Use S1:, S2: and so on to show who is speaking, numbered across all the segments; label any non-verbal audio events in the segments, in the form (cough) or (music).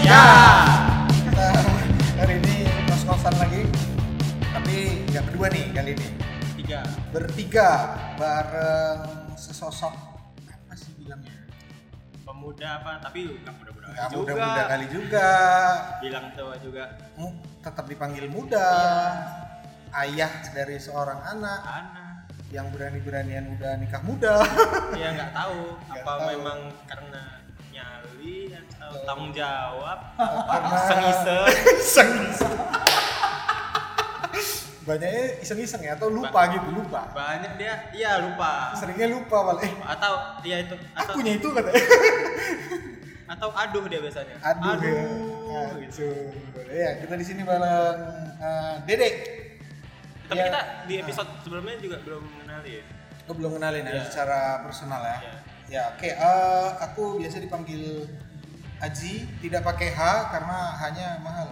S1: Ya.
S2: Kita hari ini kos-kosan lagi. Tapi nggak berdua nih kali ini.
S1: Tiga.
S2: Bertiga bareng sesosok apa sih bilangnya?
S1: Pemuda apa? Tapi nggak muda-muda
S2: Nggak
S1: juga.
S2: muda-muda kan. kali juga.
S1: Bilang tua juga.
S2: Mu- Tetap dipanggil muda. Ayah dari seorang anak
S1: Anak.
S2: yang berani-beranian udah nikah muda.
S1: Ya nggak tahu.
S2: Nggak
S1: apa
S2: tahu.
S1: memang karena nyali atau tanggung jawab?
S2: Karena-
S1: Iseng-iseng.
S2: Iseng-iseng. Banyaknya iseng-iseng ya atau lupa gitu, lupa.
S1: Banyak dia. Iya lupa.
S2: Seringnya lupa malah. Eh,
S1: Atau dia itu. Atau
S2: akunya itu katanya.
S1: atau aduh dia biasanya.
S2: Aduh,
S1: Aduh.
S2: ya.
S1: gitu.
S2: Aduh. Ya, kita di sini bareng eh, Dede.
S1: Tapi
S2: Ya.
S1: kita di episode sebelumnya juga belum mengenali ya.
S2: Aku belum kenalin ya
S1: Ya.
S2: secara personal ya.
S1: Ya.
S2: Ya, oke. eh, aku biasa dipanggil Haji, tidak pakai H karena hanya mahal.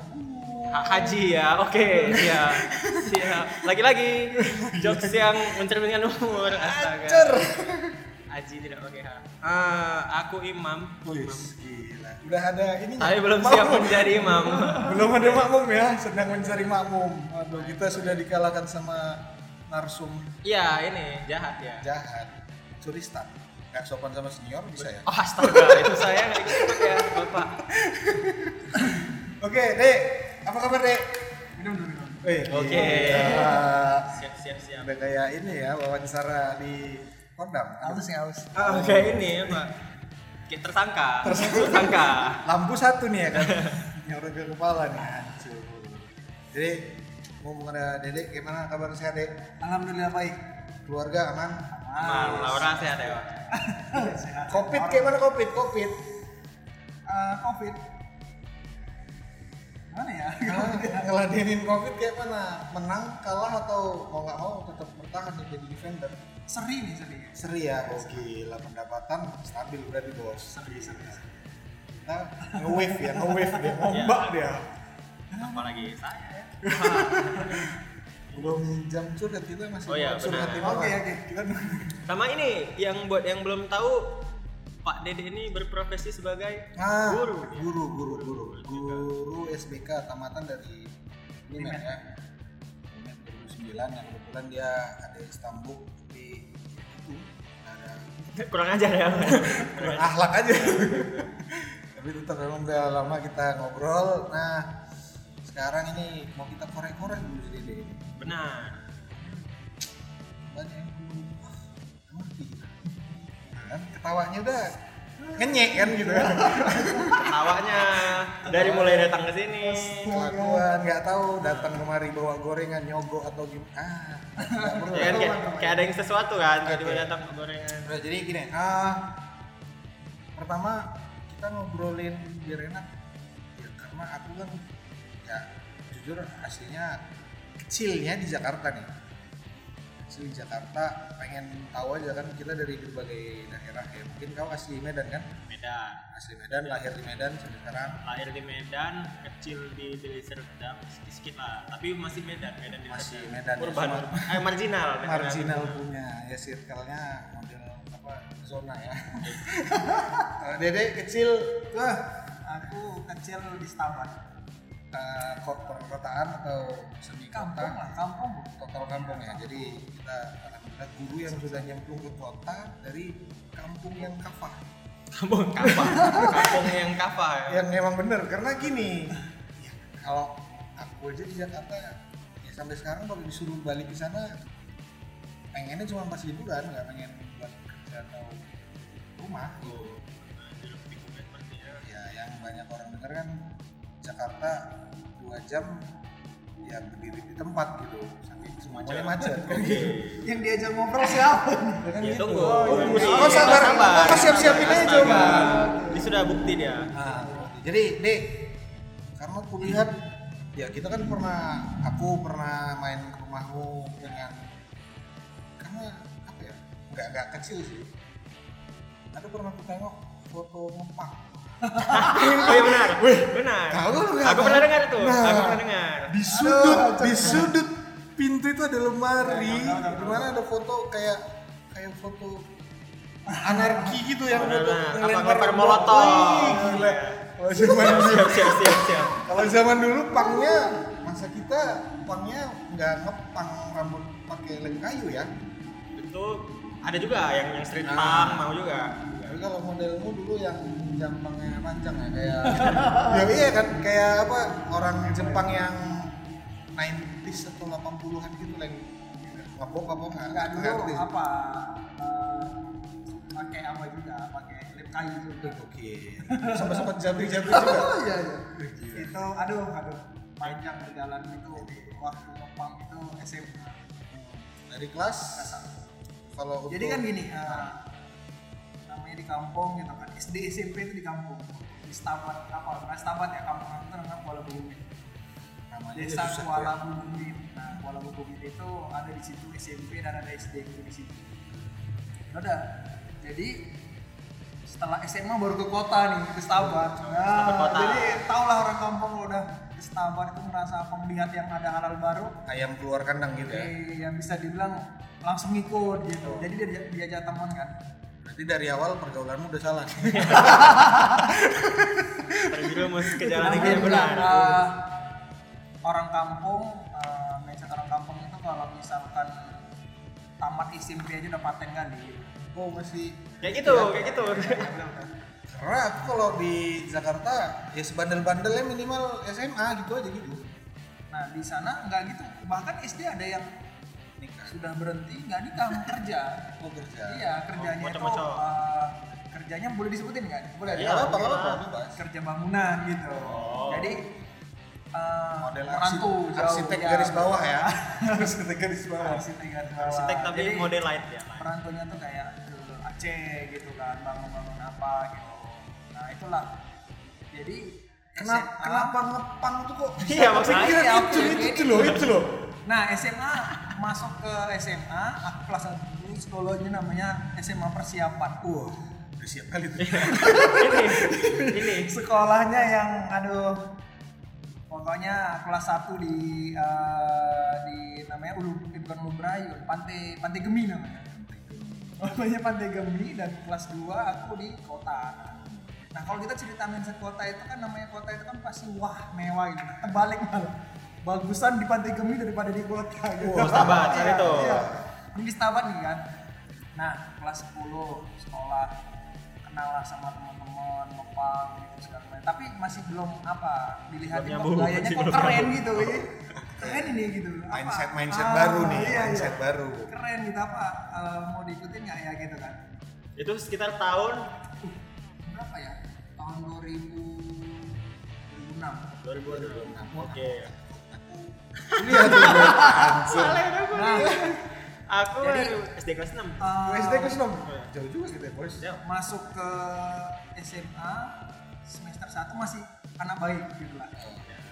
S1: Ha- Haji ya, oke, ya, siap. Lagi-lagi jokes yang mencerminkan umur.
S2: Hacer.
S1: Astaga. Haji tidak pakai H. Ah, aku imam.
S2: Wih, gila. Udah ada ini.
S1: Tapi belum siap menjadi imam.
S2: belum ada makmum ya, sedang mencari makmum. Aduh, kita sudah dikalahkan sama narsum
S1: (laughs) Iya, ini jahat ya.
S2: jahat, curistan. Gak sopan sama senior bisa ya?
S1: Oh, astaga, itu saya nggak ikut ya, Bapak.
S2: Oke, Dek. Apa kabar, Dek? Minum dulu.
S1: Oke.
S2: Udah
S1: Siap, siap, siap.
S2: kayak ini ya wawancara di Kodam. Halus ya, halus.
S1: Ah, oke, ini apa? Kayak tersangka. Tersangka.
S2: Lampu satu nih ya kan. (laughs) Nyorot ke kepala nih. Hancur. Jadi, ngomong ada Dedek, gimana kabar sehat, Dek? Alhamdulillah baik. Keluarga aman?
S1: Aman, Laura sehat ya, Pak?
S2: Iya. Covid gimana Covid? Covid.
S3: Eh, covid mana ya
S2: Ah, Ngeladenin Covid kayak mana? Menang, kalah atau mau nggak mau tetap bertahan dan jadi defender?
S3: (laughs) seri nih seri
S2: Seri ya, oh gila pendapatan stabil berarti bos. Seri seri. Kita nge-wave ya, nge-wave dia, ngombak dia.
S1: Apalagi saya.
S2: Belum jam curhat kita masih
S1: Oh iya,
S2: belum curhat ya.
S1: benar.
S2: ini.
S3: oke oke kita
S1: Sama ini yang buat yang belum tahu Pak Dede ini berprofesi sebagai
S2: Ah,
S1: guru.
S2: guru, guru, guru, guru, guru SBK tamatan dari Uner ya. Uner 2009 yang kebetulan dia ada Istanbul di itu ada
S1: (laughs) Kurang ajar ya.
S2: kurang akhlak aja tapi tetap memang udah lama kita ngobrol nah sekarang ini mau kita korek-korek dulu sih deh
S1: Benar.
S2: banyak yang belum ah, ngerti kita. kan ketawanya udah ngenyek kan gitu kan
S1: Ketawanya dari mulai datang ke sini.
S2: kelakuan nggak tahu datang kemari bawa gorengan nyogok atau gimana ah nggak perlu.
S1: Ya kan kayak, kayak ada yang sesuatu kan tiba-tiba
S2: Oke.
S1: datang ke gorengan.
S2: Nah, jadi gini ah pertama kita ngobrolin biar enak ya, karena aku kan ya jujur aslinya kecilnya di Jakarta nih kecil di Jakarta pengen tahu aja kan kita dari berbagai daerah ya mungkin kau asli Medan kan
S1: Medan.
S2: asli Medan lahir di Medan sampai sekarang
S1: Lahir di Medan, kecil di Deli Serdang, sedikit lah. Tapi masih Medan, Medan di
S2: Masih Medan, ya,
S1: Urban.
S2: cuma-
S1: Eh marginal. Medan.
S2: marginal punya ya circle-nya model apa zona
S3: (laughs)
S2: ya Eh, Dede kecil wah
S3: aku kecil di Setabat
S2: eh, ko- perkotaan atau semi kota
S3: kampung lah kampung Bu.
S2: total kampung ya jadi kita alhamdulillah guru yang sudah nyemplung ke kota dari kampung yang kafah
S1: Kampung kafah. Kampung yang kafah ya.
S2: yang emang bener karena gini ya, kalau aku aja di Jakarta ya sampai sekarang kalau disuruh balik ke sana pengennya cuma pas liburan nggak pengen buat kerja atau rumah
S1: Oh, nah, di Lubuk Tikumen berarti ya.
S2: ya yang banyak orang dengar kan Jakarta dua jam ya berdiri di tempat gitu saking semuanya macet kan gitu.
S3: yang diajak ngobrol siapa
S2: Ya kan
S1: Ya,
S2: gitu.
S1: tunggu.
S2: Oh,
S1: Tunggu
S2: (laughs) iya.
S1: sih.
S2: Oh, sabar, Apa siap-siapin aja
S1: Astaga.
S2: coba.
S1: Ini sudah bukti dia.
S2: Nah, jadi Dek, karena aku lihat ya kita kan pernah aku pernah main ke rumahmu dengan karena apa ya nggak nggak kecil sih aku pernah aku tengok foto ngempang
S1: Oh iya benar. Benar.
S2: Tahu lu
S1: Aku
S2: nggak tahu?
S1: pernah dengar tuh.
S2: Nah.
S1: Aku pernah dengar.
S2: di sudut di sudut pintu itu ada lemari di mana ada foto kayak kayak foto anarki gitu yang
S1: Benar,
S2: untuk
S1: benar. Apa
S2: ngelempar
S1: ngelempar
S2: bom.
S1: molotov.
S2: Wih, gila. Kalau zaman dulu,
S1: siap siap siap siap
S2: kalau zaman dulu pangnya masa kita pangnya nggak ngepang rambut pakai lem kayu ya.
S1: itu ada juga yang yang street
S2: Ah.
S1: punk mau juga
S2: Tapi kalau modelmu dulu yang jampangnya panjang ya
S3: (laughs)
S2: kayak ya iya kan kayak apa orang Jepang yang 90s atau 80-an gitu lah yang ngepok ngepok
S3: Enggak
S2: nggak
S3: dulu
S2: ngerti.
S3: apa eh, pakai apa juga pakai lip gitu. kayu juga.
S2: Oke. Sama sempat jabri
S3: (laughs)
S2: jabri juga.
S3: iya iya. Itu aduh aduh panjang di jalan itu waktu numpang itu SMA.
S2: Dari kelas kalau
S3: Jadi
S2: untuk-
S3: kan gini, eh, namanya di kampung gitu kan SD SMP itu di kampung di Stabat apa nah, Stabat ya kampung aku tuh namanya Kuala Bumi
S2: namanya
S3: desa
S2: susah tuh ya.
S3: Kuala Bumi nah Kuala Bumi itu ada di situ SMP dan ada SD itu di situ Ya udah jadi setelah SMA baru ke kota nih ke Stabat nah,
S1: ke kota.
S3: jadi tau lah orang kampung udah ke Stabat itu merasa penglihat yang ada halal baru
S2: ya. ayam keluar kandang gitu ya.
S3: eh, yang bisa dibilang langsung ngikut gitu jadi dia diajak teman kan
S2: Berarti dari awal pergaulanmu udah (laughs) salah.
S1: terjerumus
S3: (laughs)
S1: ke jalan
S3: Namanya
S1: yang tidak benar
S3: eh, orang kampung eh, mindset orang kampung itu kalau misalkan tamat SMP aja udah paten kan kali
S2: oh masih
S1: kayak gitu
S3: Iya.
S1: kayak
S3: (laughs)
S1: gitu
S3: kan.
S2: karena aku kalau di Jakarta ya sebandel-bandelnya minimal SMA gitu aja gitu.
S3: nah di sana nggak gitu bahkan SD ada yang
S2: Nikah.
S3: sudah berhenti nggak nikah mau kerja
S2: Aku kerja.
S3: iya kerjanya itu
S1: macam-macam.
S3: eh, kerjanya boleh disebutin kan boleh
S2: Iya,
S1: Iya,
S2: apa apa apa
S1: iya.
S2: bebas.
S3: kerja bangunan gitu
S1: Oh.
S3: jadi eh,
S2: Model
S3: merantau
S2: arsi-
S3: jauh,
S2: arsitek
S3: ya.
S2: garis bawah (laughs) ya. arsitek garis bawah.
S3: (laughs) arsitek garis bawah
S1: arsitek tapi
S3: Jadi,
S1: model light
S3: (laughs)
S1: ya
S3: merantaunya tuh kayak ke Aceh gitu kan bangun-bangun apa gitu nah itulah jadi
S2: Kenapa
S3: SMA
S2: kenapa ngepang tuh kok?
S1: Iya, maksudnya
S2: Kira
S3: iya,
S2: itu itu
S3: oke, oke.
S2: itu loh itu loh.
S3: nah SMA masuk ke SMA aku kelas dulu sekolahnya namanya SMA persiapan
S2: Wah, udah siap kali tuh.
S1: ini ini
S3: sekolahnya yang aduh pokoknya kelas 1 di eh, di namanya Ulu eh, bukan Ulu Berayu, Pantai Pantai Gemi namanya. Namanya Pantai Gemi dan kelas 2 aku di kota. Nah, kalau kita cerita mindset kota itu kan namanya kota itu kan pasti wah mewah gitu. Nah, Terbalik malah. Bagusan di Pantai Gemi daripada di kota gitu.
S1: Wah, Stabat,
S3: Iya,
S1: Oh, cari tuh.
S3: iya. Ini di Stabat nih kan. Nah, kelas 10 sekolah kenal lah sama teman-teman ngepang gitu segala macam. Tapi masih belum apa dilihatin
S1: Belum
S3: kok
S1: nyambung,
S3: gayanya
S1: masih
S3: kok
S1: belum
S3: keren
S1: nyambung.
S3: gitu. kayaknya. Keren ini gitu. Apa?
S2: Mindset mindset
S3: Ah,
S2: baru nih, ya,
S3: iya,
S2: mindset
S3: iya.
S2: baru.
S3: Keren gitu apa eh, mau diikutin nggak ya gitu kan.
S1: itu sekitar tahun
S3: Berapa ya? Tahun
S1: 2006
S3: 2000 2006.
S1: oke
S2: Ini ada
S3: ya, Nah,
S1: aku
S3: Jadi-
S1: baru SD kelas 6
S3: eh,
S2: SD ke Senom. Jauh juga kita ya, bos.
S1: Ya.
S3: masuk ke SMA semester 1 masih anak baik gitu lah.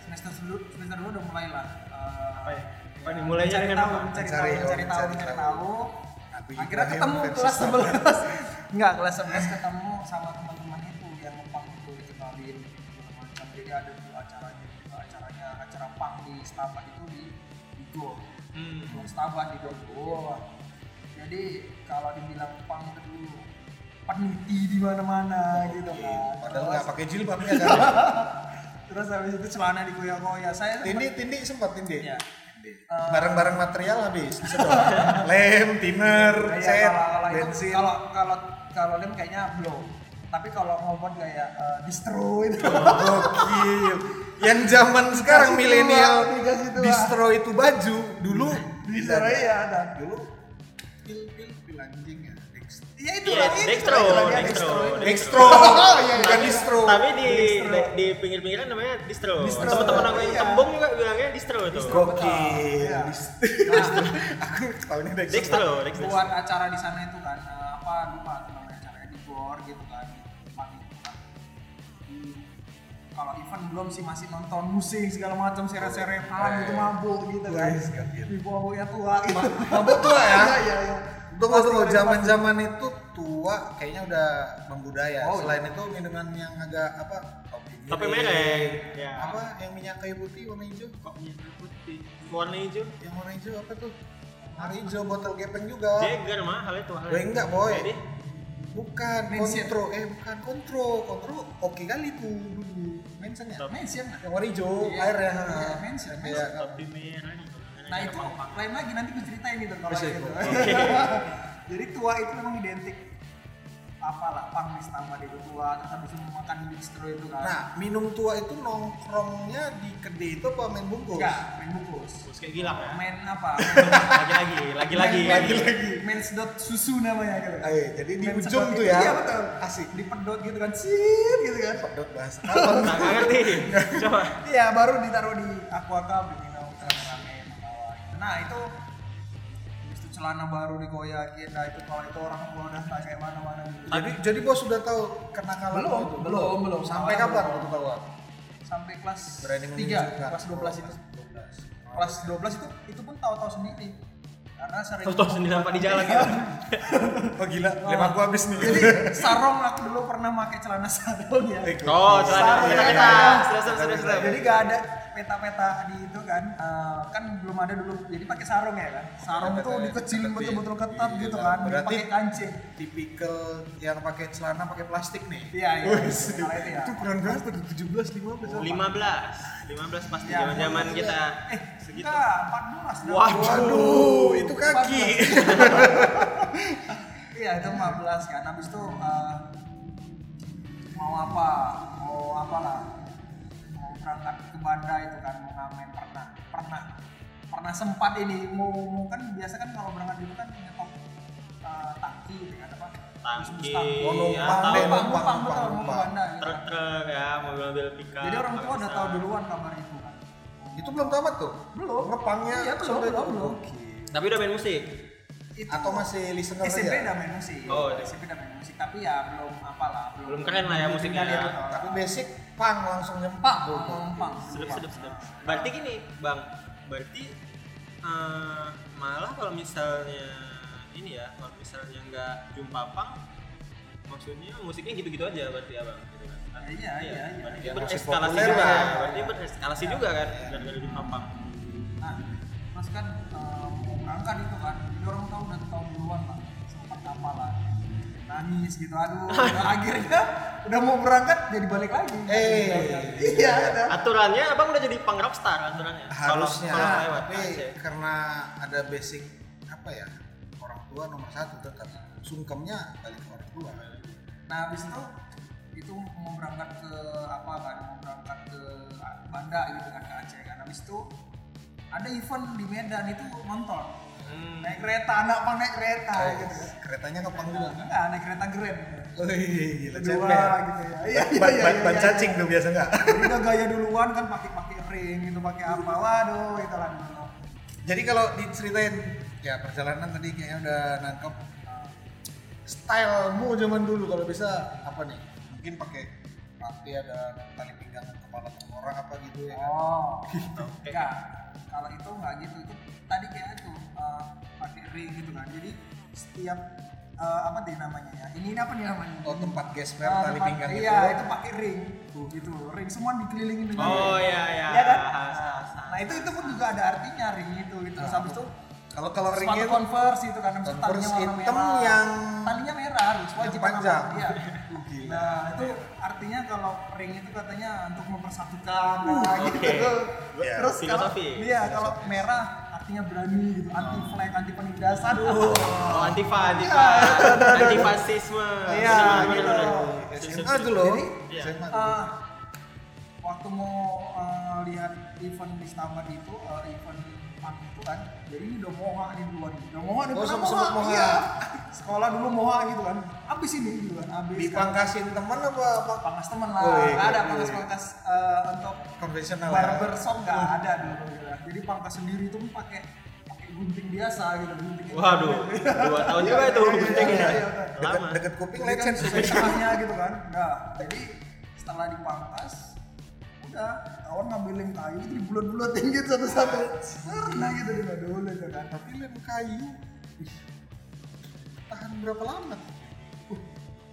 S3: Semester dulu semester 2 udah mulai lah. eh,
S1: Apa ya? Apa nih,
S3: ya,
S1: mulainya
S3: mencari
S1: dengan
S3: tahu,
S1: apa?
S3: mencari
S2: Mencari, oh,
S3: tahu, mencari tahu,
S2: mencari tahu.
S3: mencari tahu.
S2: Nabi
S3: Akhirnya
S2: Ibrahim
S3: ketemu
S2: versus
S3: kelas
S2: Nabi.
S3: 11. (laughs) Enggak, kelas 11 ketemu sama teman-teman itu yang ngepang itu dikenalin segala macam. Jadi ada dulu acaranya, gitu. acaranya acara pang di Stabat itu di di Gor.
S1: hmm.
S3: Bung Stabat di Bogor. Jadi kalau dibilang pang itu dulu peniti di mana-mana gitu kan.
S2: Iya, Padahal
S3: Terus-
S2: nggak pakai jilbab ya (laughs) kan.
S3: Terus habis itu celana dikoyak-koyak. Saya
S2: Tindi tindi sempat tindi.
S3: ya.
S2: Barang-barang material habis disedot.
S3: (laughs)
S2: Lem, thinner,
S3: Kayak
S2: set,
S3: Iya, kalau kalau itu
S2: bensin.
S3: kalau kalau kalau lem kayaknya belum. Tapi kalau ngomong kayak eh, distro itu
S2: Oh,
S3: (laughs)
S2: Gokil. Yang zaman sekarang
S3: Dikasih
S2: milenial
S3: tua, dikasih tua.
S2: distro itu baju dulu
S3: distro ya ada.
S2: dulu pil pil pil anjing ya Dex-
S3: Iya itu
S1: Iya,
S3: lah, itu
S1: dextro,
S3: lah, dia
S1: dextro,
S3: itu. (laughs)
S2: dextro
S3: Oh, iya,
S2: bukan distro
S1: tapi di
S3: Distro.
S1: di, di pinggir-pinggiran namanya distro,
S3: Distro,
S1: teman-teman aku yang
S3: iya.
S1: tembung juga bilangnya distro tuh
S2: gokil
S3: Iya.
S2: Distro. (laughs) aku tahunnya dextro
S1: dextro dextro
S3: buat acara di sana itu kan eh, apa lupa tuh namanya acaranya di gor gitu kan di tempat itu kan Di- kalau event belum sih masih nonton musik segala macam seret-seretan
S2: Iya.
S3: gitu mabuk gitu kan
S2: Wes, gokil.
S3: di bawah ya tua gitu
S2: iya, mabuk tua ya?
S3: iya iya iya
S2: tunggu tunggu
S3: Pasti,
S2: zaman zaman itu tua kayaknya udah membudaya
S3: Oh,
S2: selain itu minuman yang agak apa kopi
S1: Kopi
S2: merah,
S1: mereng, ya.
S2: apa yang minyak kayu putih warna hijau
S1: putih warna hijau
S2: yang warna hijau apa tuh warna hijau botol gepeng juga
S1: Jagger mahal itu mahal.
S2: Gue enggak, Boy.
S1: Jadi,
S2: bukan
S3: Mention.
S2: kontro eh bukan kontro kontro oke kali tuh dulu mention ya
S1: Tapi-
S3: mention lah
S2: yang warna hijau
S3: Iya,
S2: air ya
S3: iya, mention,
S2: Iya,
S3: mention.
S2: kan.
S1: Tapi merah nih, kalau
S3: Nah
S1: ada
S3: itu
S1: pang-pang.
S3: lain lagi nanti gue ceritain itu kalau
S2: Masih,
S3: gitu.
S1: oke.
S3: (laughs) Jadi tua itu memang identik apalah pang istama itu tua terus habis itu makan bistro itu kan.
S2: nah minum tua itu nongkrongnya di kede itu apa main bungkus
S3: enggak main bungkus.
S1: Terus kayak gilang ya.
S3: Main apa?
S1: Lagi-lagi, lagi-lagi.
S3: Main- Main sedot susu namanya gitu.
S2: Ayo, Ah, iya, jadi di
S3: Main
S2: ujung
S3: sedot
S2: tuh
S3: itu,
S2: ya
S3: Iya betul.
S2: asik
S3: Dipedot gitu kan. Sip gitu kan.
S2: pedot bahasa
S1: Nggak
S3: (laughs)
S1: ngerti. Coba.
S3: Iya baru ditaruh di aqua cup diminum rame-rame membawa. Nah itu habis itu celana baru dikoyakin nah itu kalau itu orang gua udah tak kayak mana-mana gitu.
S2: jadi jadi bos sudah tahu kenakalan
S3: Belum,
S2: itu?
S3: belum, belum.
S2: sampai
S3: Tawaran
S2: kapan
S3: belum.
S2: waktu tahu
S3: sampai kelas
S2: berani
S3: 3,
S2: menunjukkan
S3: kelas 12 itu. Kelas 12 itu itu pun tahu-tahu sendiri. Karena sering Iya.
S1: Tahu-tahu sendiri sampai di jalan gitu.
S2: oh gila lem aku habis nih
S3: Jadi sarong aku dulu pernah pakai celana sarong ya.
S2: Eh,
S1: Oh, celana
S3: Sarung,
S1: peta peta.
S3: iya.
S1: Sudah sudah sudah sudah.
S3: Jadi gak ada peta-peta di itu kan. eh, kan belum ada dulu. Jadi pakai sarung ya kan. Sarung
S2: Peta-peta
S3: tuh
S2: ya,
S3: dikecilin
S2: ketat ya.
S3: betul-betul ketat
S2: Iya,
S3: gitu kan.
S2: berarti-
S3: Pakai kancing.
S2: tipikal yang pakai celana pakai plastik nih
S3: Iya, iya.
S2: Wih,
S3: Kalau itu ya.
S2: itu kurang berapa tuh 17 15 apa?
S1: 15. 15 pasti
S3: Ya,
S1: zaman-zaman
S3: boleh,
S1: kita
S3: boleh. eh
S1: segitu.
S3: enggak, 14 dah.
S1: Waduh,
S2: Waduh, itu kaki.
S3: 14. Iya, itu 14 kan. Habis itu eh, mau apa? Mau apalah? Mau berangkat ke Banda itu kan mau ngamen pernah, pernah. Pernah sempat ini mau, mau kan biasa kan kalau berangkat dulu kan nyetok eh, tangki gitu kan apa?
S1: Tangki,
S2: Oh, numpang
S1: atau
S2: deh,
S3: Numpang,
S2: numpang, numpang,
S3: numpang, iya, betul, mau ke
S2: numpang.
S3: Banda gitu kan.
S1: truk-truk ya, mobil-mobil pickup.
S3: Jadi orang tua
S1: pakai
S3: udah
S1: besar.
S3: tahu duluan kabar itu kan.
S2: itu belum tamat tuh
S3: Belum.
S2: ngepangnya
S3: Iya, belum,
S2: sampai-
S3: belum, belum.
S2: Oke.
S1: Tapi udah main musik.
S3: Itu-
S2: atau masih ya? listener
S3: SMP
S2: aja
S3: udah main musik.
S1: Oh, iya.
S3: SMP udah main musik, tapi ya belum apalah,
S1: Belum keren lah ya musiknya
S3: Iya,
S1: ya.
S2: tapi basic pang langsung nyempak
S3: Pak,
S2: tuh
S3: numpang.
S1: Sedap sedap sedap. Berarti gini, Bang. Berarti eh, malah kalau misalnya ini ya, kalau misalnya nggak jumpa pang maksudnya musiknya gitu-gitu aja berarti ya bang Gitu kan.
S3: Iya, iya, iya.
S1: berarti
S2: Ya, musik
S1: bereskalasi
S2: populer
S1: juga
S2: lah.
S1: berarti bereskalasi juga kan
S3: Iya.
S1: gara-gara jumpa pang
S3: Nah, terus kan eh, mau berangkat itu kan, jadi orang tahu udah tahu duluan lah, sempat apalah nangis gitu,
S1: (laughs)
S3: aduh, udah akhirnya udah mau berangkat jadi balik lagi.
S2: Eh.
S3: iya, udah.
S1: aturannya abang udah jadi pang rockstar aturannya Kalau-
S2: harusnya Nah,
S1: kalau lewat
S2: tapi
S3: iya,
S1: aja.
S2: karena ada basic apa ya orang tua nomor satu tetap sungkemnya balik ke orang tua
S3: Nah, habis itu itu mau berangkat ke apa kan? Mau berangkat ke Banda gitu kan ke Aceh kan. Habis itu ada event di Medan itu nonton.
S1: Hmm.
S3: Naik kereta, anak pang naik kereta
S2: Eh.
S3: gitu. kan.
S2: keretanya ngepang juga
S3: Nah, Enggak, naik kereta grand.
S2: Wih, gila
S3: Kedua
S2: cemen.
S3: gitu ya. Iya,
S2: Ban-
S3: iya,
S2: ban-
S3: iya,
S2: ban-
S3: iya,
S2: ban
S3: iya.
S2: cacing tuh biasa nggak?
S3: Jadi udah gaya duluan kan pakai pakai ring gitu, pakai apa. Waduh, gitu kan. itu lah dulu.
S2: Jadi kalau diceritain ya perjalanan tadi kayaknya udah nangkep stylemu zaman dulu kalau bisa apa nih? Mungkin pakai rantai ada tali pinggang kepala orang apa gitu ya kan?
S3: Oh, enggak. Kalau itu enggak gitu. Itu tadi kayak itu eh, pakai ring gitu kan. Jadi setiap eh, apa deh namanya ya? Ini apa nih namanya?
S2: Oh tempat gesper
S3: Ah,
S2: tali
S3: tempat-
S2: pinggang
S3: Iya, itu
S2: gitu.
S3: pakai ring. Gitu, ring semua dikelilingin dengan
S1: oh
S3: ring.
S1: iya iya ah.
S3: Iya kan?
S1: Has-
S3: Nah,
S1: has- has.
S3: Nah, itu itu pun juga ada artinya ring itu
S2: Nah,
S3: gitu. Terus habis itu
S2: Kalau kalau
S3: sepatu
S2: ringnya
S3: converse itu kan habis itu
S2: Converse
S3: talinya warna
S2: hitam
S3: merah.
S2: yang-
S3: talinya merah harus wajib warna
S2: panjang.
S3: merah,
S2: (laughs)
S3: Iya.
S2: Tuh, gila.
S3: Nah, itu artinya kalau ring itu katanya untuk mempersatukan
S2: Oh,
S3: nah, gitu.
S1: oke.
S2: Ya,
S3: Terus kalau
S1: filosofi.
S3: iya, kalau merah artinya berani gitu,
S2: Oh.
S3: anti flag, anti penindasan.
S1: oh antifa antifa anti fasisme
S3: Iya, gitu.
S2: SMA dulu.
S3: Jadi,
S1: iya.
S2: SMA dulu.
S3: Eh, waktu mau eh, lihat event di Stabat itu eh, event di Pang itu kan jadi ini udah moha nih duluan nih udah moha nih
S2: Oh,
S3: pernah
S2: sempet-sempet moha.
S3: Iya. sekolah dulu moha gitu kan abis ini gitu kan abis kan.
S2: Dipangkasin teman apa? apa?
S3: pangkas temen lah
S2: Oh, iya,
S3: Nggak ada
S2: iya. ya.
S3: pangkas pangkas eh, untuk
S2: Konvensional.
S3: barber shop nggak ada dulu gitu kan. jadi pangkas sendiri tuh pakai pakai gunting biasa gitu gunting
S1: waduh dua tahun juga itu
S3: Iya, iya,
S1: penting
S3: iya,
S1: ya
S3: iya, iya.
S2: Deket,
S1: lama
S2: deket kuping
S3: Jadi kan
S2: legend
S3: sesuai setengahnya gitu kan nah jadi setelah dipangkas udah kawan ngambil lem kayu itu dibulat-bulatin gitu satu-satu pernah gitu di dulu itu kan
S2: tapi lem kayu ih, tahan berapa lama tuh?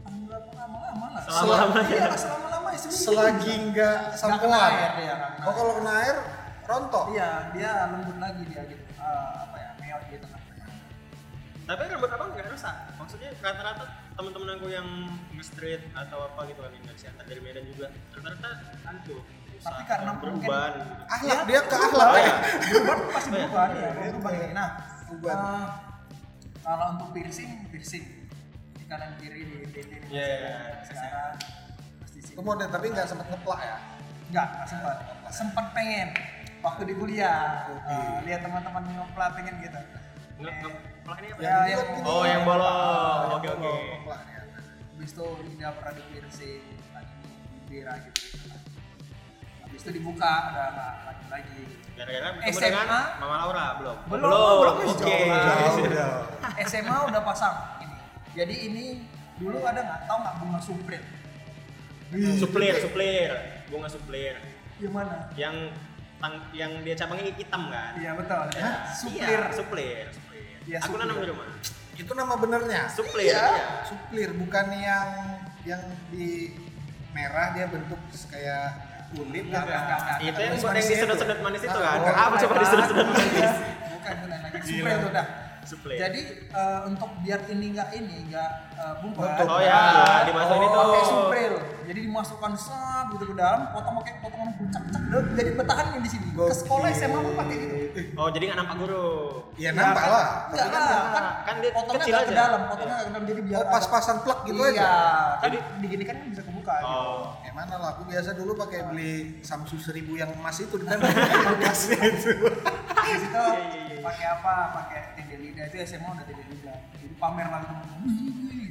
S3: Alhamdulillah, lama-lama lah
S1: Selama-lamanya.
S3: iya lah, selama-lama ya seminggu
S2: selagi nggak
S3: Nggak
S2: sampoan
S3: kena air, iya, nggak kena
S2: oh kalau kena air rontok
S3: iya dia lembut lagi dia gitu Ah, apa ya meot gitu kan
S1: tapi tapi rambut abang nggak rusak maksudnya rata-rata teman-teman aku yang nge-straight atau apa gitu kan Indonesia antar dari Medan juga rata-rata hancur rusak,
S3: Tapi karena Ah.
S1: dan gitu. perubahan
S2: Ahlak dia ke ahlak
S1: Iya.
S2: ya.
S3: berubah pasti berubah ya berubah
S2: Iya.
S3: ya. nah
S2: Berubah.
S3: eh, kalau untuk piercing piercing di kanan kiri di dinding
S1: Iya, iya, iya.
S3: sekarang pasti sih
S2: Kemudian tapi nggak sempat ngeplak ya.
S3: enggak nggak sempat sempat pengen waktu di kuliah
S2: Oke.
S3: eh, lihat teman-teman ngepla pengen gitu
S1: Nge- nge- pelan ini apa
S3: Ya,
S1: ya?
S3: yang-
S2: gini.
S1: oh yang bolong
S2: Yang
S1: oke oke
S2: bolong, ngeplak ya.
S3: habis itu tidak pernah di piercing lagi bibirah gitu habis itu dibuka ada lagi lagi
S1: gara-gara ketemu
S3: SMA?
S1: dengan Mama Laura belum
S3: Belum, belum, masih
S1: oke
S2: Jauh, jauh.
S3: SMA udah pasang ini. Jadi ini dulu ada nggak tahu nggak bunga suprit?
S1: suplir suplir bunga suplir
S3: Gimana?
S1: yang tang- yang dia cabangnya hitam kan
S3: Iya betul. Ya. Suplir.
S1: Iya, suplir suplir
S3: Iya,
S1: aku nanam
S3: suplir.
S1: di rumah
S2: Itu nama benernya.
S1: Suplir,
S2: Iya.
S1: iya.
S2: Suplir bukan yang yang di merah dia bentuk kayak kulit
S3: Enggak, enggak, enggak, enggak.
S1: itu yang
S2: Manis-manis
S1: buat yang di
S2: itu.
S1: sedot-sedot manis itu
S2: Ah,
S1: kan
S2: oh,
S1: apa coba di sedot-sedot manis
S3: Bukan bukan lagi
S2: Gila.
S3: suplir itu udah.
S1: Suplir.
S3: Jadi eh, untuk biar ini nggak ini nggak eh, bungkus.
S2: Bentuk.
S1: oh ya dimasukin itu
S3: Pakai suplir. Jadi dimasukkan sab gitu ke dalam, potong pakai potongan kucak-kucak. dot. Jadi bertahan di sini. Ke sekolah SMA pun pakai gitu.
S2: Eh,
S1: (laughs) oh jadi nggak nampak guru
S2: Ya nampak lah.
S3: Enggak
S1: kan
S3: lah,
S1: nggak-
S3: kan,
S1: kan dia
S3: potongnya
S1: kecil
S3: nggak ke
S1: aja.
S3: dalam, potongnya nggak ke dalam jadi biar
S2: Oh, pas-pasan plek gitu
S3: iya,
S2: aja.
S3: Kan
S1: Jadi-
S3: digini kan bisa kebuka. gitu.
S1: oh
S2: Ya mana lah, aku biasa dulu pakai beli Samsung 1000 yang emas
S3: (laughs)
S2: itu di bekasnya
S1: Gitu.
S2: itu.
S3: Habis itu
S1: (laughs) Iya, iya, iya.
S3: pakai apa? Pakai tende lidah itu SMA udah tende lidah. Jadi pamer lah gitu. Gitu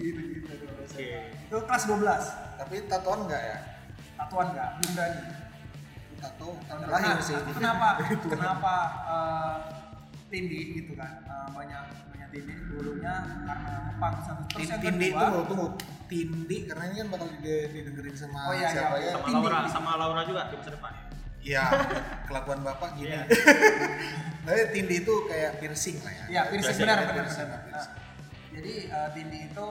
S3: gitu. gitu.
S1: oke
S3: Itu kelas 12.
S2: Tapi tatoan enggak ya?
S3: Tatuan enggak? Belum berani.
S2: Tato tanda
S3: Nah,
S2: lahir sih.
S3: aku
S2: (laughs)
S3: Kenapa? kenapa eh, tindi gitu kan? Eh, banyak banyak tindi dulunya karena ngepang satu terus yang
S2: Tindi
S3: kedua-
S2: tunggu tunggu. Tindi karena ini kan bakal dide- didengerin sama
S3: Oh, iya,
S2: siapa
S3: iya.
S2: ya?
S1: sama
S3: Tinggi.
S1: Laura sama Laura juga di masa depan
S2: Iya, kelakuan bapak gini.
S1: Iya.
S2: Tapi tindi itu kayak piercing lah ya.
S3: Iya, piercing
S1: Biasa,
S3: benar,
S2: ya,
S3: benar,
S2: piercing,
S3: benar. Nah,
S2: piercing.
S3: jadi eh, Tindi itu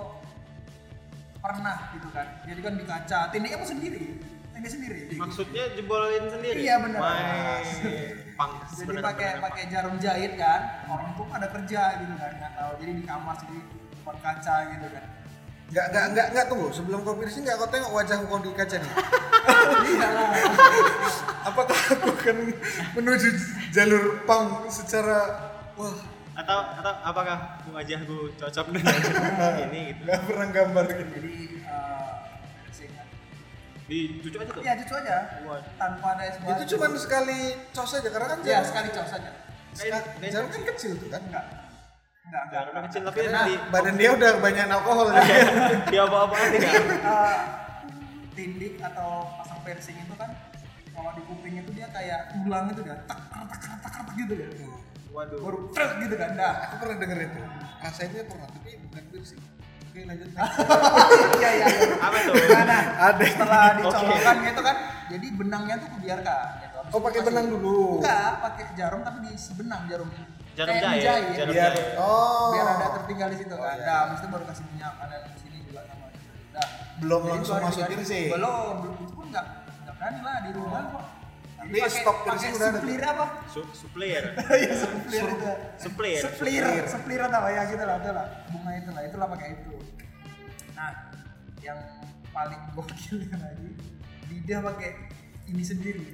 S3: pernah gitu kan. Jadi kan di kaca, Tindinya pun sendiri. Tindi sendiri.
S1: maksudnya jebolin sendiri
S3: Iya, benar.
S1: Wah, pang
S3: Jadi
S1: benar-benar
S3: pakai
S1: pang.
S3: pakai jarum jahit kan. Orang tuh pada kerja gitu kan, nggak tahu. Jadi di kamar sendiri depan kaca gitu kan.
S2: Enggak, enggak, enggak, enggak, tunggu. Sebelum kau piercing, enggak kau tengok wajah kau di kaca nih.
S3: Iya lah.
S2: Apakah aku akan kan menuju jalur pang secara wah
S1: atau atau apakah wajahku
S3: (laughs)
S1: cocok dengan ini gitu
S2: nggak pernah gambar gitu.
S3: Jadi eh, piercing kan.
S1: dicucuk aja tuh
S3: Iya, cucu aja.
S1: Waduh.
S3: Tanpa ada sebuah
S2: Itu cuma sekali cos aja karena kan
S3: ya
S2: jarum-
S3: sekali cos aja.
S2: seka- jarum kan kecil tuh kan.
S3: Enggak. Enggak, enggak.
S1: Jarumnya kecil tapi
S2: Karena
S1: nanti (laughs)
S2: badan dia udah banyak
S3: (laughs)
S2: alkohol ya.
S1: dia bawa-bawa tidak
S3: Eh, tindik atau pasang piercing itu kan kalau di kuping itu dia kayak tulang itu dia tak tak tak tak tak tak gitu ya
S1: waduh
S3: baru truk gitu kan dah
S2: Aku pernah denger itu. Rasanya pernah, tapi bukan piercing. Oke lanjut.
S3: iya iya iya.
S1: apa tuh
S3: nah, nah
S2: Ada.
S3: setelah dicolokkan gitu kan jadi benangnya tuh kebiarkan gitu Habis
S2: Kau pakai
S3: itu
S2: benang
S3: kasih-
S2: dulu.
S3: enggak pakai jarum tapi di benang jarumnya
S1: Jarum
S3: Kayak
S1: jahit,
S3: menjahit,
S1: jarum
S2: Biar
S1: jahit.
S2: oh.
S3: biar ada tertinggal di situ
S2: Oh,
S3: kan
S2: iya.
S3: nah habis itu baru kasih minyak ada di sini juga sama gitu. Dah.
S2: Belum
S3: Jadi
S2: langsung
S3: baru
S2: masuk
S3: digaris.
S2: piercing.
S3: belum belum itu pun enggak enggak berani lah di rumah kok
S2: Oh. Tapi stok piercing udah ada.
S3: suplir
S2: (laughs)
S3: apa?
S1: Su- suplir
S3: Iya suplir itu.
S1: suplir
S3: Suplir, suplir apa ya gitu lah, itu lah. Bunga itu lah, itulah pakai itu. Nah, yang paling (laughs) gokilnya lagi lidah pakai ini sendiri.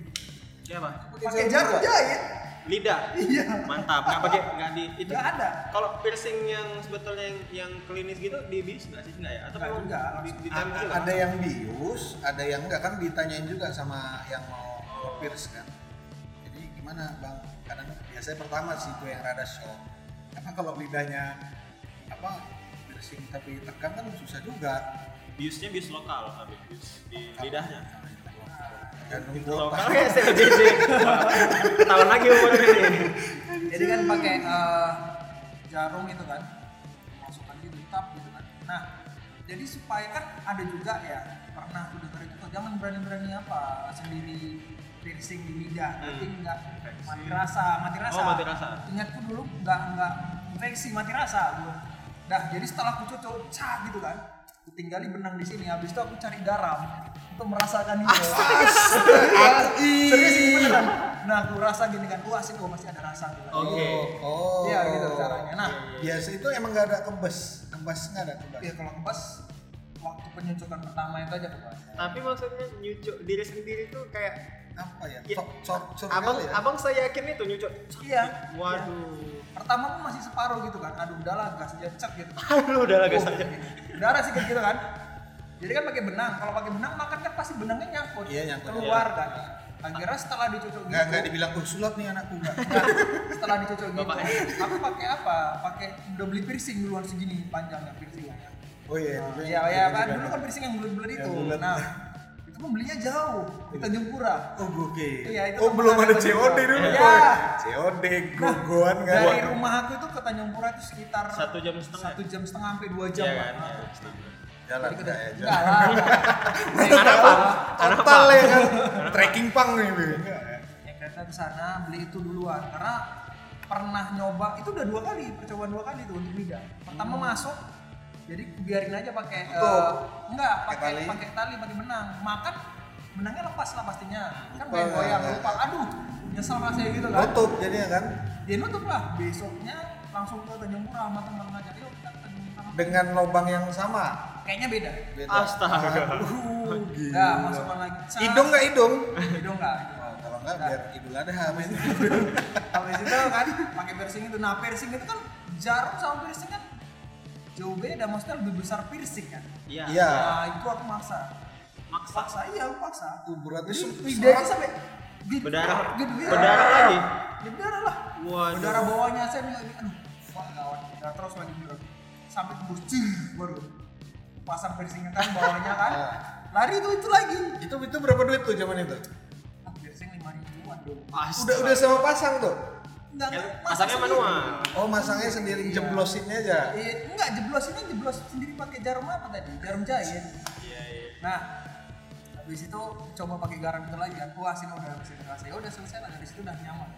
S3: Iya,
S1: siapa
S3: Pakai jarum jahit.
S1: lidah
S3: Iya.
S1: mantap nggak pakai nggak di itu
S3: Nggak ada.
S1: kalau piercing yang sebetulnya yang, yang klinis gitu dibius nggak sih nggak ya atau
S3: Nggak
S1: memang
S3: juga.
S1: di, di
S2: A-
S1: time juga
S2: ada yang bius, ada yang enggak kan ditanyain juga sama yang mau pierce kan. Jadi gimana bang? Kadang biasanya pertama sih gue yang rada shock. Karena kalau lidahnya apa piercing tapi tekan kan susah juga.
S1: biusnya bius lokal tapi bius di lidahnya
S2: Dan nunggu
S1: lokal
S2: (laughs) apa?
S1: kayak CBJ tahun lagi umurnya ini
S3: Jadi kan pakai eh, jarum itu kan masukkan gitu, tap gitu kan. Nah, jadi supaya kan ada juga ya pernah aku dengar itu jangan berani-berani apa sendiri piercing di lidah nanti
S1: Hmm.
S3: nggak
S1: Infeksi. Oh,
S3: mati rasa mati rasa
S1: mati rasa.
S3: ingatku dulu nggak nggak infeksi mati rasa dulu dah jadi setelah aku cocok cah gitu kan aku tinggali benang di sini habis itu aku cari garam untuk merasakan itu
S2: Asli.
S3: serius ini beneran nah aku rasa gini kan wah sih kok masih ada rasa gitu
S1: Oh. Oke.
S2: Oh.
S3: iya gitu caranya nah
S2: Biasa itu emang nggak ada kembes, kembes nggak ada kembes.
S3: ya kalau kebas waktu penyusukan pertama itu aja kebas
S4: Tapi maksudnya nyucuk diri sendiri tuh kayak
S2: Apa ya?
S4: Iya.
S2: Cok, cok, cok.
S4: abang
S2: ya?
S4: abang saya yakin itu nyucuk.
S3: iya
S4: Waduh.
S3: pertama pun masih separuh gitu kan aduh udahlah gas aja cek gitu
S1: (laughs)
S4: Aduh udah lah guys
S3: Oh,
S4: aja.
S3: Udah ada sih kayak gitu kan. Jadi kan pakai benang. Kalau pakai benang makan kan pasti benangnya nyangkut.
S2: Iya, nyangkut.
S3: Keluar kan. Akhirnya setelah dicucuk gitu.
S2: Nggak nggak dibilang oh, sulap nih anakku nggak.
S3: setelah dicucuk gitu.
S4: Bapak.
S3: Aku pakai apa? Pakai udah beli piercing duluan segini panjangnya piercingnya.
S2: Oh iya. itu
S3: Nah, Iya,
S2: yang-
S3: ya,
S2: itu
S3: kan
S2: juga
S3: dulu
S2: ada.
S3: kan piercing yang bulat-bulat itu.
S2: Yang bulat.
S3: Nah, itu membelinya jauh di Tanjung Pura.
S2: Oh oke.
S3: Iya, itu
S2: oh belum
S3: teman
S2: ada Nah,
S3: aku juga.
S2: COD dulu.
S3: Iya.
S2: Boy. COD gogoan nggak ada.
S3: Dari rumah aku itu ke Tanjung Pura itu sekitar
S1: Satu jam setengah.
S3: Satu jam setengah sampai dua jam.
S1: Iya
S3: lah.
S1: kan?
S3: Nah,
S1: Iya, setengah.
S2: Jalan
S3: Jadi kita-
S2: nggak ya
S3: Enggak
S2: jalan.
S3: lah.
S4: Karena apa? Karena apa?
S2: Total ya kan. Trekking pang nih. Boy.
S3: naik kereta ke sana beli itu duluan karena pernah nyoba itu udah dua kali percobaan dua kali itu untuk lidah pertama
S2: Hmm.
S3: masuk jadi biarin aja pakai
S2: Tutup.
S3: eh, enggak pakai
S2: tali.
S3: pakai tali pakai benang makan benangnya lepas lah pastinya
S2: Lupa,
S3: kan goyang goyang
S2: ya.
S3: lupa aduh nyesel rasanya gitu kan
S2: Tutup jadinya kan.
S3: dia nutup lah besoknya langsung ke Tanjung Pura sama teman-teman ngajak yuk kita ke Tanjung Pura
S2: Dengan lubang yang sama.
S3: kayaknya beda Uhuh.
S2: Beda.
S1: Astaga.
S2: Aduh,
S3: enggak
S2: Oh, gila.
S3: masukkan lagi Cas.
S2: Hidung nggak hidung?
S3: hidung enggak
S2: Oh, Kalau nggak biar idul adha (laughs) habis itu.
S3: habis itu kan pakai piercing itu nah piercing itu kan jarum sama piercing kan jauh beda maksudnya lebih besar piercing kan
S1: Iya.
S2: Iya.
S3: nah itu aku maksa
S1: Maksa.
S3: paksa iya aku paksa
S2: Tuh, berarti
S3: jadi
S2: se-
S3: lidahnya
S2: serat.
S3: sampai gede-
S1: Berdarah.
S3: gede-
S1: Berdarah lagi.
S3: Ya, berdarah lah
S1: Waduh.
S3: berdarah bawahnya saya bilang ini aduh wah gawat Nah, terus lagi bilang sampai tembus cing baru pasang piercingnya kan bawahnya kan
S2: Iya.
S3: lari itu itu lagi
S2: Itu itu berapa duit tuh zaman itu?
S3: ah, piercing lima ribuan dong
S2: Udah udah sama pasang tuh.
S3: Enggak,
S1: Ya,
S3: enggak,
S1: masaknya
S3: masak
S1: manual.
S3: sendiri.
S2: Oh, masangnya sendiri
S3: Iya.
S2: jeblosin aja.
S3: Eh, enggak jeblos ini jeblos sendiri pakai jarum apa tadi? Jarum jahit.
S1: Iya, iya.
S3: Nah, habis itu coba pakai garam itu lagi kan. Wah, sini udah bisa terasa. Ya udah selesai lah dari situ udah nyaman.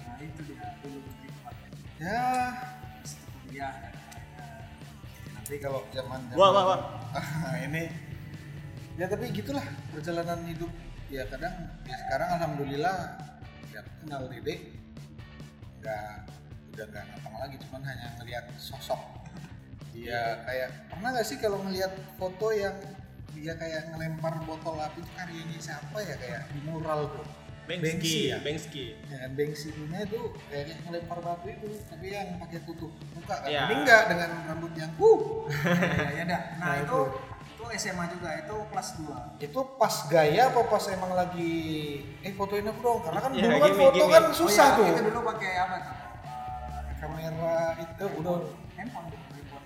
S3: Nah, itu dia dulu di tempat Iya, ya.
S2: Ya,
S3: kuliah.
S2: nanti kalau zaman zaman
S1: Wah, wah, wah.
S2: Ah, ini ya tapi gitulah perjalanan hidup ya kadang ya sekarang alhamdulillah ya aku kenal Dede nggak udah nggak ngapa lagi cuman hanya ngelihat sosok dia kayak pernah nggak sih kalau ngelihat foto yang dia kayak ngelempar botol api itu karyanya siapa ya kayak di mural tuh
S1: Bengski,
S2: ya
S1: Bengski.
S2: dengan bengsinya itu kayak ngelempar batu itu tapi yang pakai tutup muka kan
S1: Iya.
S2: ini enggak dengan rambut yang uh
S3: Ya, ya dah. Nah,
S2: Nah,
S3: itu itu SMA juga, itu kelas 2.
S2: itu pas gaya apa pas emang lagi eh fotoin aku dong karena kan
S1: Iya,
S2: dulu kan
S1: gimmick,
S2: foto
S1: gimmick.
S2: kan susah
S3: oh, iya, Kita
S2: tuh
S3: dulu pakai apa tuh?
S2: kamera itu udah
S3: Handphone tuh, handphone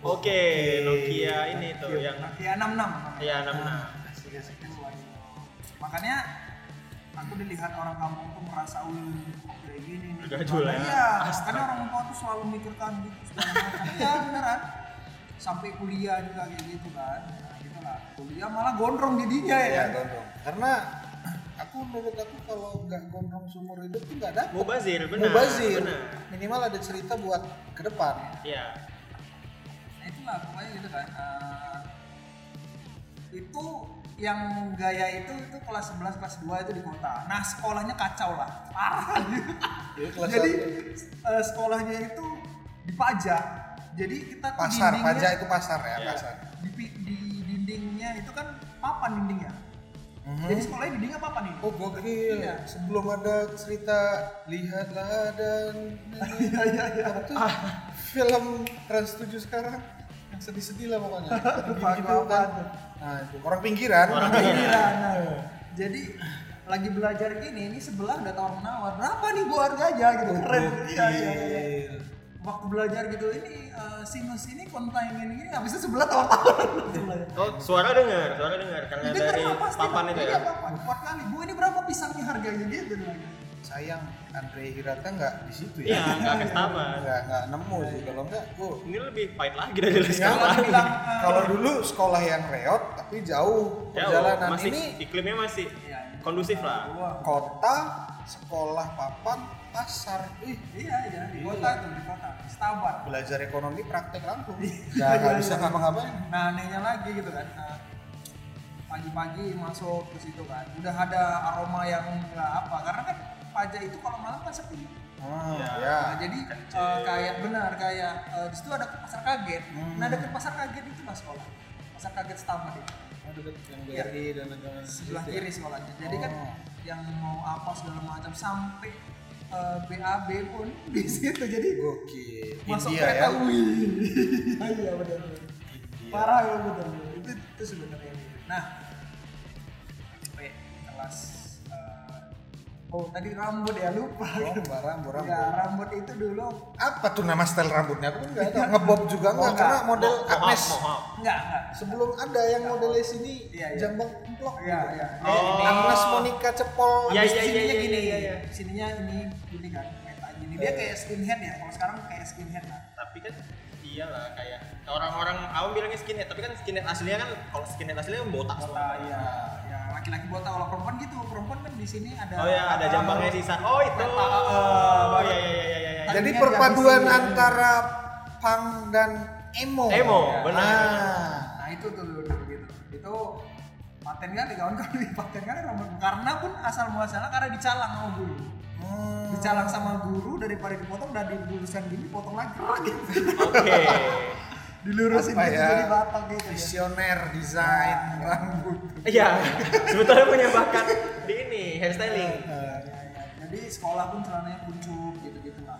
S3: 6500.
S1: Oke, Nokia ini tuh Oh, yang
S3: Nokia 66.
S1: Iya, 66.
S2: asik asik
S3: makanya aku dilihat orang kampung tuh merasa "Wih, kok kayak gini nih
S1: Gajul ya.
S3: iya karena orang kampung tuh selalu mikirkan gitu segala macam. iya beneran sampai kuliah juga kayak gitu kan nah, gitu lah kuliah malah gondrong jadinya ya
S2: Iya,
S3: kan
S2: gondrong. karena aku menurut aku kalau nggak gondrong seumur hidup tuh nggak ada
S1: Mubazir, benar.
S2: mubazir
S1: Benar.
S2: minimal ada cerita buat ke depan
S1: Iya.
S3: Nah, itulah pokoknya gitu kan Eh, itu yang gaya itu itu kelas 11 kelas 2 itu di kota nah sekolahnya kacau lah parah
S2: Jadi Iya, kelas
S3: jadi
S2: satu.
S3: eh, sekolahnya itu dipajak jadi kita tuh
S2: pasar
S3: dindingnya-
S2: pajak itu pasar ya
S1: Iya.
S2: pasar
S3: di, pi- di dindingnya itu kan papan dindingnya
S2: Mhm.
S3: jadi sekolahnya dindingnya papan ini
S2: Oh gokil,
S3: Iya.
S2: sebelum ada cerita lihatlah dan
S3: Iya, iya, iya.
S2: Apa tuh? film Trans 7 sekarang yang sedih-sedih lah
S3: (laughs)
S2: pokoknya.
S3: Lupa
S2: Gitu
S3: aku apa
S2: kan.
S3: tuh.
S2: Nah, itu orang pinggiran.
S1: Orang
S3: Iya, nah. jadi lagi belajar gini ini sebelah ada tawar menawar berapa nih bu harganya gitu
S2: Oh,
S3: keren iya, iya, iya.
S2: gokil.
S3: waktu belajar gitu ini eh, sinus ini kontain ini gini habisnya sebelah tawar tawar
S1: Oh, suara dengar, suara dengar karena
S3: jadi
S1: dari
S3: kenapa pasti
S1: papan itu
S3: Iya,
S1: ya.
S3: papan empat kali bu ini berapa pisangnya harganya gitu lagi
S2: Sayang Andre Hirata nggak di situ
S1: Iya,
S2: ya.
S1: nggak kestaban.
S2: Nggak nggak nemu sih kalau nggak gua
S1: Ini lebih pahit lagi dari dari
S2: Iya,
S1: sekarang.
S2: lagi. kalau dulu sekolah yang reot tapi jauh
S1: (laughs) Ya,
S2: perjalanan
S1: masih
S2: ini
S1: iklimnya masih
S3: Iya, iya.
S1: kondusif lah.
S3: Wah,
S2: kota sekolah papan pasar ih
S3: iya iya di kota itu di kota Stabat
S2: belajar ekonomi praktek langsung
S3: Iya.
S2: ya nggak bisa ngapa-ngapain
S3: Nah anehnya lagi gitu kan. eh, nah, pagi-pagi masuk ke situ kan udah ada aroma yang nggak apa karena kan pajak itu kalau malam kan sepi
S2: Oh,
S1: Ya.
S2: ya.
S3: Nah, jadi
S1: kecil.
S3: eh, kayak benar kayak eh, di situ ada pasar kaget
S2: Hmm.
S3: nah deket pasar kaget itu lah sekolah pasar kaget setamat itu
S2: Oh, deket yang
S3: Iya.
S2: BRI dan lain-lain.
S3: sebelah
S2: Gitu ya.
S3: kiri sekolahnya jadi kan
S2: Oh.
S3: yang mau apa segala macam sampai eh, BAB pun (laughs) di situ jadi
S2: Gokil.
S3: masuk
S2: India
S3: kereta iya.
S2: ya.
S3: UI Ah, (laughs) iya benar
S2: India.
S3: parah ya benar itu itu sebenarnya ini. nah sampai kelas eh, oh tadi rambut ya lupa
S2: Rambut, rambut, rambut.
S3: ya rambut itu dulu
S2: Apa tuh nama style rambutnya? Aku nggak tahu.
S3: Iya.
S2: Ngebob juga nggak?
S3: Mohawk.
S2: Karena model
S1: Mohawk,
S2: Agnes.
S1: mohawk.
S3: enggak enggak
S2: Sebelum ada yang modelnya sini
S3: Iya, iya.
S2: jambak emplok.
S3: Iya, iya.
S1: Oh.
S2: Agnes Monica cepol.
S1: Iya,
S2: abis
S1: iya, iya,
S2: sininya
S1: iya,
S2: gini.
S1: iya, iya.
S3: sininya ini ini kan kereta gini dia kayak skinhead ya kalau sekarang kayak skinhead lah
S1: tapi kan iyalah kayak orang-orang awam bilangnya skinhead tapi kan skinhead aslinya kan kalau skinhead aslinya botak
S3: Botak,
S1: semua.
S3: ya, ya laki-laki botak kalau perempuan gitu perempuan kan di sini ada
S1: oh ya ada jambangnya sisa oh itu
S3: Peta, eh,
S1: oh ya ya ya ya ya
S2: Jadi
S3: Tadinya
S2: perpaduan
S3: dia habis-
S2: antara punk dan emo.
S1: Emo, benar.
S2: Ah.
S3: nah itu tuh dulu gitu itu paten kali kawan kawan (laughs) paten kali rambut karena pun asal muasalnya karena dicalang sama guru
S2: Hmm.
S3: dicalang sama guru daripada dipotong dan diluruskan gini potong lagi (laughs)
S1: oke
S3: dilurusin
S2: Apa
S3: gitu,
S2: ya?
S3: jadi batang gitu ya. Nah,
S2: Visioner desain rambut.
S1: iya sebetulnya punya bakat di ini hairstyling
S3: Ya, ya, ya. jadi sekolah pun celananya kuncup gitu-gitu lah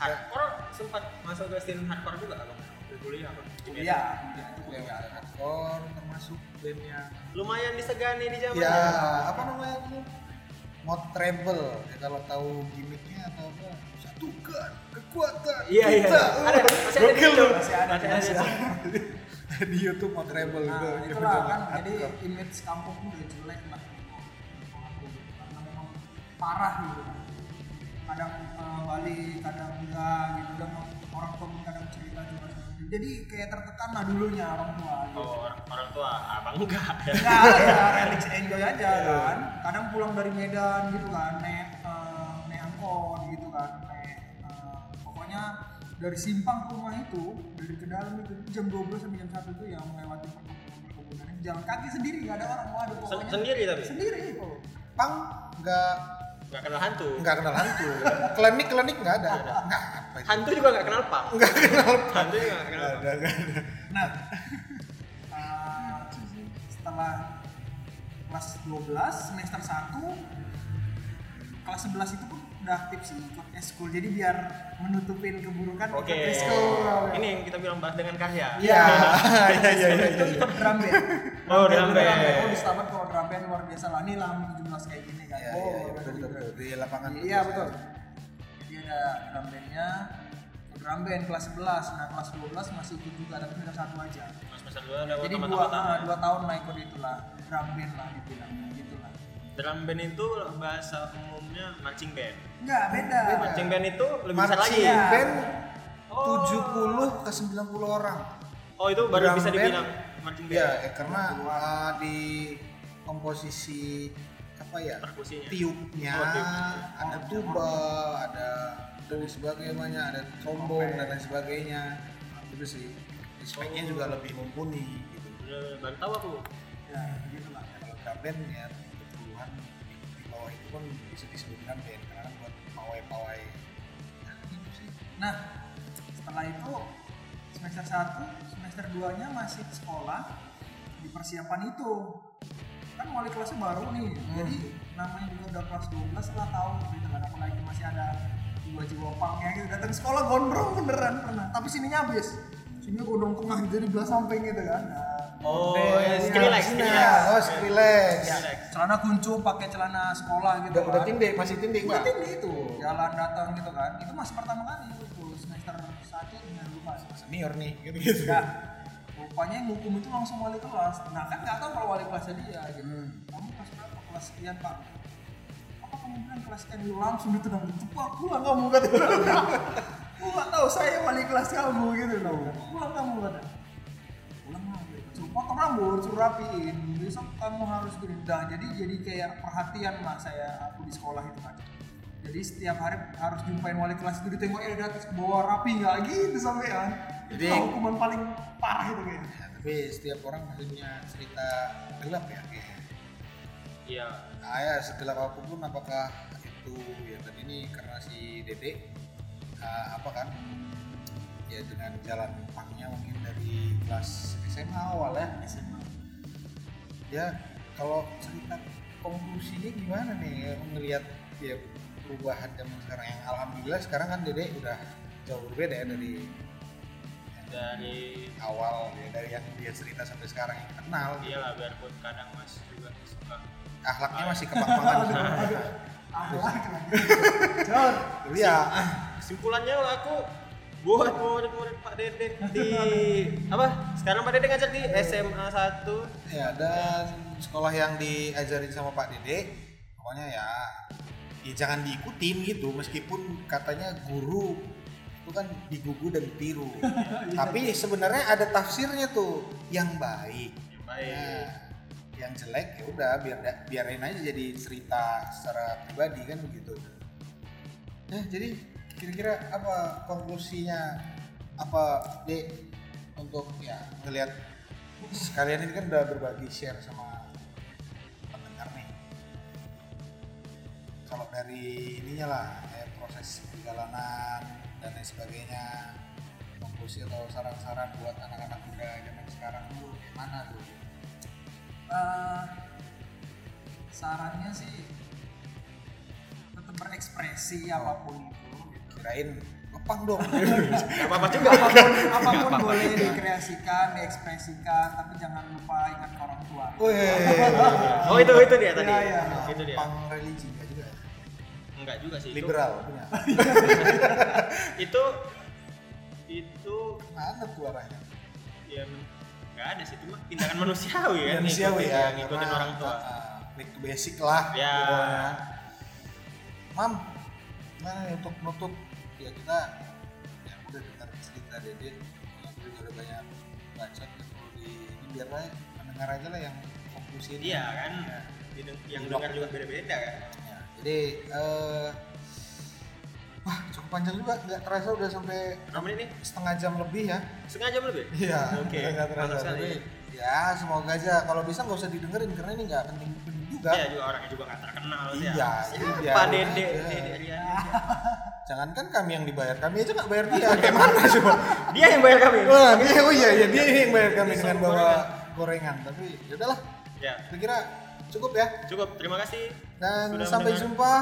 S1: hardcore sempat masuk ke scene hardcore juga abang Di kuliah abang Di Medan.
S3: kuliah kuliah itu kuliah
S2: Lewat hardcore iya. termasuk band yang
S1: lumayan disegani di zaman
S3: Iya.
S2: ya apa namanya itu mod treble ya, kalau tahu gimmicknya atau apa satukan kekuatan
S1: Iya iya.
S3: Gitu.
S2: kita
S1: Ada masih ada
S2: Gokil
S1: gitu.
S2: tuh.
S3: masih ada
S1: Masih
S3: masih ada.
S2: (laughs) di YouTube mod treble
S3: nah
S2: itu
S3: itulah kan jadi image kampung tuh udah jelek lah karena memang parah gitu kadang eh, balik kadang enggak gitu dan orang tua pun kadang cerita juga sama dia. jadi kayak tertekan lah dulunya orang tua gitu.
S1: Oh orang orang tua abang enggak. ya.
S3: Enggak, ya relax enjoy aja kan. Kadang pulang dari Medan gitu kan, naik eh, naik angkot gitu kan, naik eh, pokoknya dari simpang ke rumah itu dari ke dalam itu jam 12 sampai jam 1 itu yang melewati perkebunan perkebunan Ini jalan kaki sendiri nggak ada orang waduh
S1: Sen-
S3: pokoknya
S1: Sendiri tapi
S3: sendiri gitu. itu
S2: pang nggak
S1: nggak kenal hantu.
S2: nggak kenal hantu klinik klinik nggak ada nggak apa itu
S1: Hantu juga nggak kenal pang.
S2: nggak kenal
S1: Hantu juga nggak kenal.
S2: nggak ada nggak ada
S3: nah (laughs) eh, setelah kelas 12 semester 1 kelas 11 itu pun udah tips ikut eskul jadi biar menutupin keburukan ikut
S1: Oke.
S3: eskul.
S1: Ini yang kita bilang bahas dengan Kahya.
S2: Iya, iya, iya, iya,
S3: itu
S2: iya.
S3: ikut drum band.
S1: Oh, drum
S3: Drum band,
S1: band.
S3: Oh, di Stabat kalau drum band luar biasa lah. Ini lama 17 kayak gini kan.
S2: Iya,
S3: oh,
S2: iya, iya, betul, betul, betul. Di lapangan
S3: Iya,
S2: kerja.
S3: betul. Jadi ada drum bandnya, ikut drum band kelas 11. Nah, kelas 12 masih ikut juga, tapi cuma satu aja.
S1: Mas Mas dulu ada
S3: Jadi
S1: teman
S3: dua,
S1: teman
S3: dua tahun lah ikut itulah, drum band lah dibilang gitu lah.
S1: Drum band itu bahasa umumnya marching band.
S3: Enggak, beda.
S1: Marching band itu lebih besar lagi.
S2: marching band
S1: Oh.
S2: 70 ke 90 orang
S1: Oh itu baru
S2: Drum
S1: bisa
S2: band.
S1: dibilang marching
S2: Iya,
S1: band.
S2: ya, karena uh, di komposisi apa ya
S1: Perkusinya.
S2: tiupnya
S1: Oh, tiupnya.
S2: ada tuba, ada dan sebagainya, ada trombon dan lain sebagainya. Itu sih. Speknya juga lebih mumpuni gitu.
S1: Bener-bener, Baru tahu aku.
S3: Ya, gitu lah.
S2: Kalau drum band ya kebutuhan di, di bawah itu pun bisa disebut drum band karena kan buat pawai-pawai. Nah, gitu sih.
S3: Nah, setelah itu semester 1, semester 2-nya masih di sekolah di persiapan itu. Kan wali kelasnya baru nih. Jadi namanya juga udah kelas 12 lah tahu gitu kan apalagi masih ada jiwa jiwa pangnya gitu datang ke sekolah gondrong beneran pernah tapi sininya habis sininya gondrong tengah gitu di belah samping gitu kan nah,
S1: Oh,
S2: Band.
S1: Skrillex, Skrillex. Iya.
S2: Nah, iya, Oh, Skrillex.
S3: celana kuncup pakai celana sekolah gitu
S2: Udah, udah
S3: kan.
S2: tindih, masih tindih
S3: Itu
S2: enggak?
S3: tinggi itu jalan datang gitu kan itu masih pertama kali itu semester satu dengan lupa
S2: Senior nih, gitu-gitu.
S3: nah rupanya yang hukum itu langsung wali kelas nah kan nggak tahu kalau wali kelasnya dia gitu kamu kelas berapa kelas sekian pak apa kamu bilang kelas sekian Dia langsung ditendang itu pak pulang kamu kata (laughs) aku nggak tahu saya wali kelas kamu gitu loh pulang kamu kata pulang lah gitu. suruh potong rambut suruh rapiin besok kamu harus gini Dah, jadi jadi kayak perhatian lah saya aku di sekolah itu kan jadi setiap hari harus jumpain wali kelas itu "Eh, ditengok ya dari atas ke bawah rapi nggak gitu sampai kan
S2: Jadi-
S3: itu lah hukuman paling parah itu kayaknya
S2: Tapi setiap orang pasti punya cerita gelap ya. kayak.
S1: Iya.
S2: Nah, ya segelap apapun apakah itu ya kan ini karena si Dede eh, apa kan ya dengan jalan pangnya mungkin dari kelas SMA awal ya SMA ya kalau cerita konklusinya gimana nih melihat ya perubahan zaman sekarang yang alhamdulillah sekarang kan Dede udah jauh berbeda ya dari
S1: Dari
S2: awal ya dari yang dia cerita sampai sekarang yang kenal
S1: dia lah biarpun kadang Mas juga suka
S2: akhlaknya masih kebak-kebakan
S3: Ahlak lagi. Cor.
S2: Tapi ya
S1: kesimpulannya lah aku buat murid-murid Pak Dede
S2: (laughs)
S1: di apa sekarang Pak Dede ngajak di SMA 1
S2: Ya, dan sekolah yang diajarin sama Pak Dede, pokoknya ya, ya jangan diikutin gitu, meskipun katanya guru itu kan digugu dan ditiru. Tapi sebenarnya ada tafsirnya tuh, yang baik.
S1: yang Ya, baik
S2: Nah, yang jelek ya udah biar biarin aja jadi cerita secara pribadi kan begitu. Nah, jadi kira-kira apa konklusinya apa Dek untuk ya ngelihat sekalian ini kan udah berbagi share sama pendengar nih. Kalau dari ininya lah kayak proses perjalanan dan lain sebagainya konklusi atau saran-saran buat anak-anak muda zaman sekarang tuh gimana tuh?
S3: Eh, sarannya sih tetap berekspresi apapun itu. gitu.
S2: kirain ngepang dong
S1: Gak apa-apa juga
S3: Apapun, apapun boleh dikreasikan, diekspresikan, tapi jangan lupa ingat orang tua.
S1: oh itu itu dia tadi
S3: Iya, iya.
S1: itu dia
S2: ngepang religi enggak juga ya?
S1: enggak juga sih itu
S2: liberal punya
S1: itu itu
S2: mana tuh arahnya
S1: ya men- nggak ada sih cuma tindakan manusiawi kan ngikutin,
S2: ya,
S1: ngikutin
S2: karena,
S1: orang tua
S2: ah, ah, back to basic lah
S1: Ya.
S2: pokoknya. mam gimana nih untuk nutup ya kita ya udah dengar cerita dede aku juga udah banyak baca gitu di ini biar lah ya. pendengar aja lah yang konklusi ini.
S1: iya kan Dideng- yang dengar juga beda-beda kan
S2: Ya, jadi eh wah cukup panjang juga nggak terasa udah sampai
S1: berapa menit nih
S2: setengah jam lebih ya
S1: setengah jam lebih
S2: Iya.
S1: Oke,
S2: (laughs) nggak terasa.
S1: mantap sekali.
S2: Tapi,
S1: iya.
S2: ya semoga aja kalau bisa nggak usah didengerin karena ini nggak penting penting juga.
S1: ya juga orangnya juga nggak terkenal sih
S2: Iya,
S1: ya
S2: itu
S1: siapa
S2: biarin
S1: dede
S2: aja.
S1: dede Riana
S2: Jangankan kami yang dibayar, kami aja nggak bayar dia. Gimana (laughs) coba?
S1: dia yang bayar kami
S2: Wah, dia, oh iya, iya, dia yang bayar kami
S1: Disuruh
S2: dengan bawa gorengan. Tapi ya udahlah,
S1: ya
S2: saya kira cukup ya.
S1: cukup terima kasih
S2: Dan
S1: Sudah
S2: sampai
S1: mendengar.
S2: jumpa.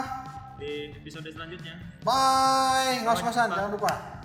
S1: di episode selanjutnya
S2: Bye, ngos-ngosan
S1: Bye.
S2: jangan lupa.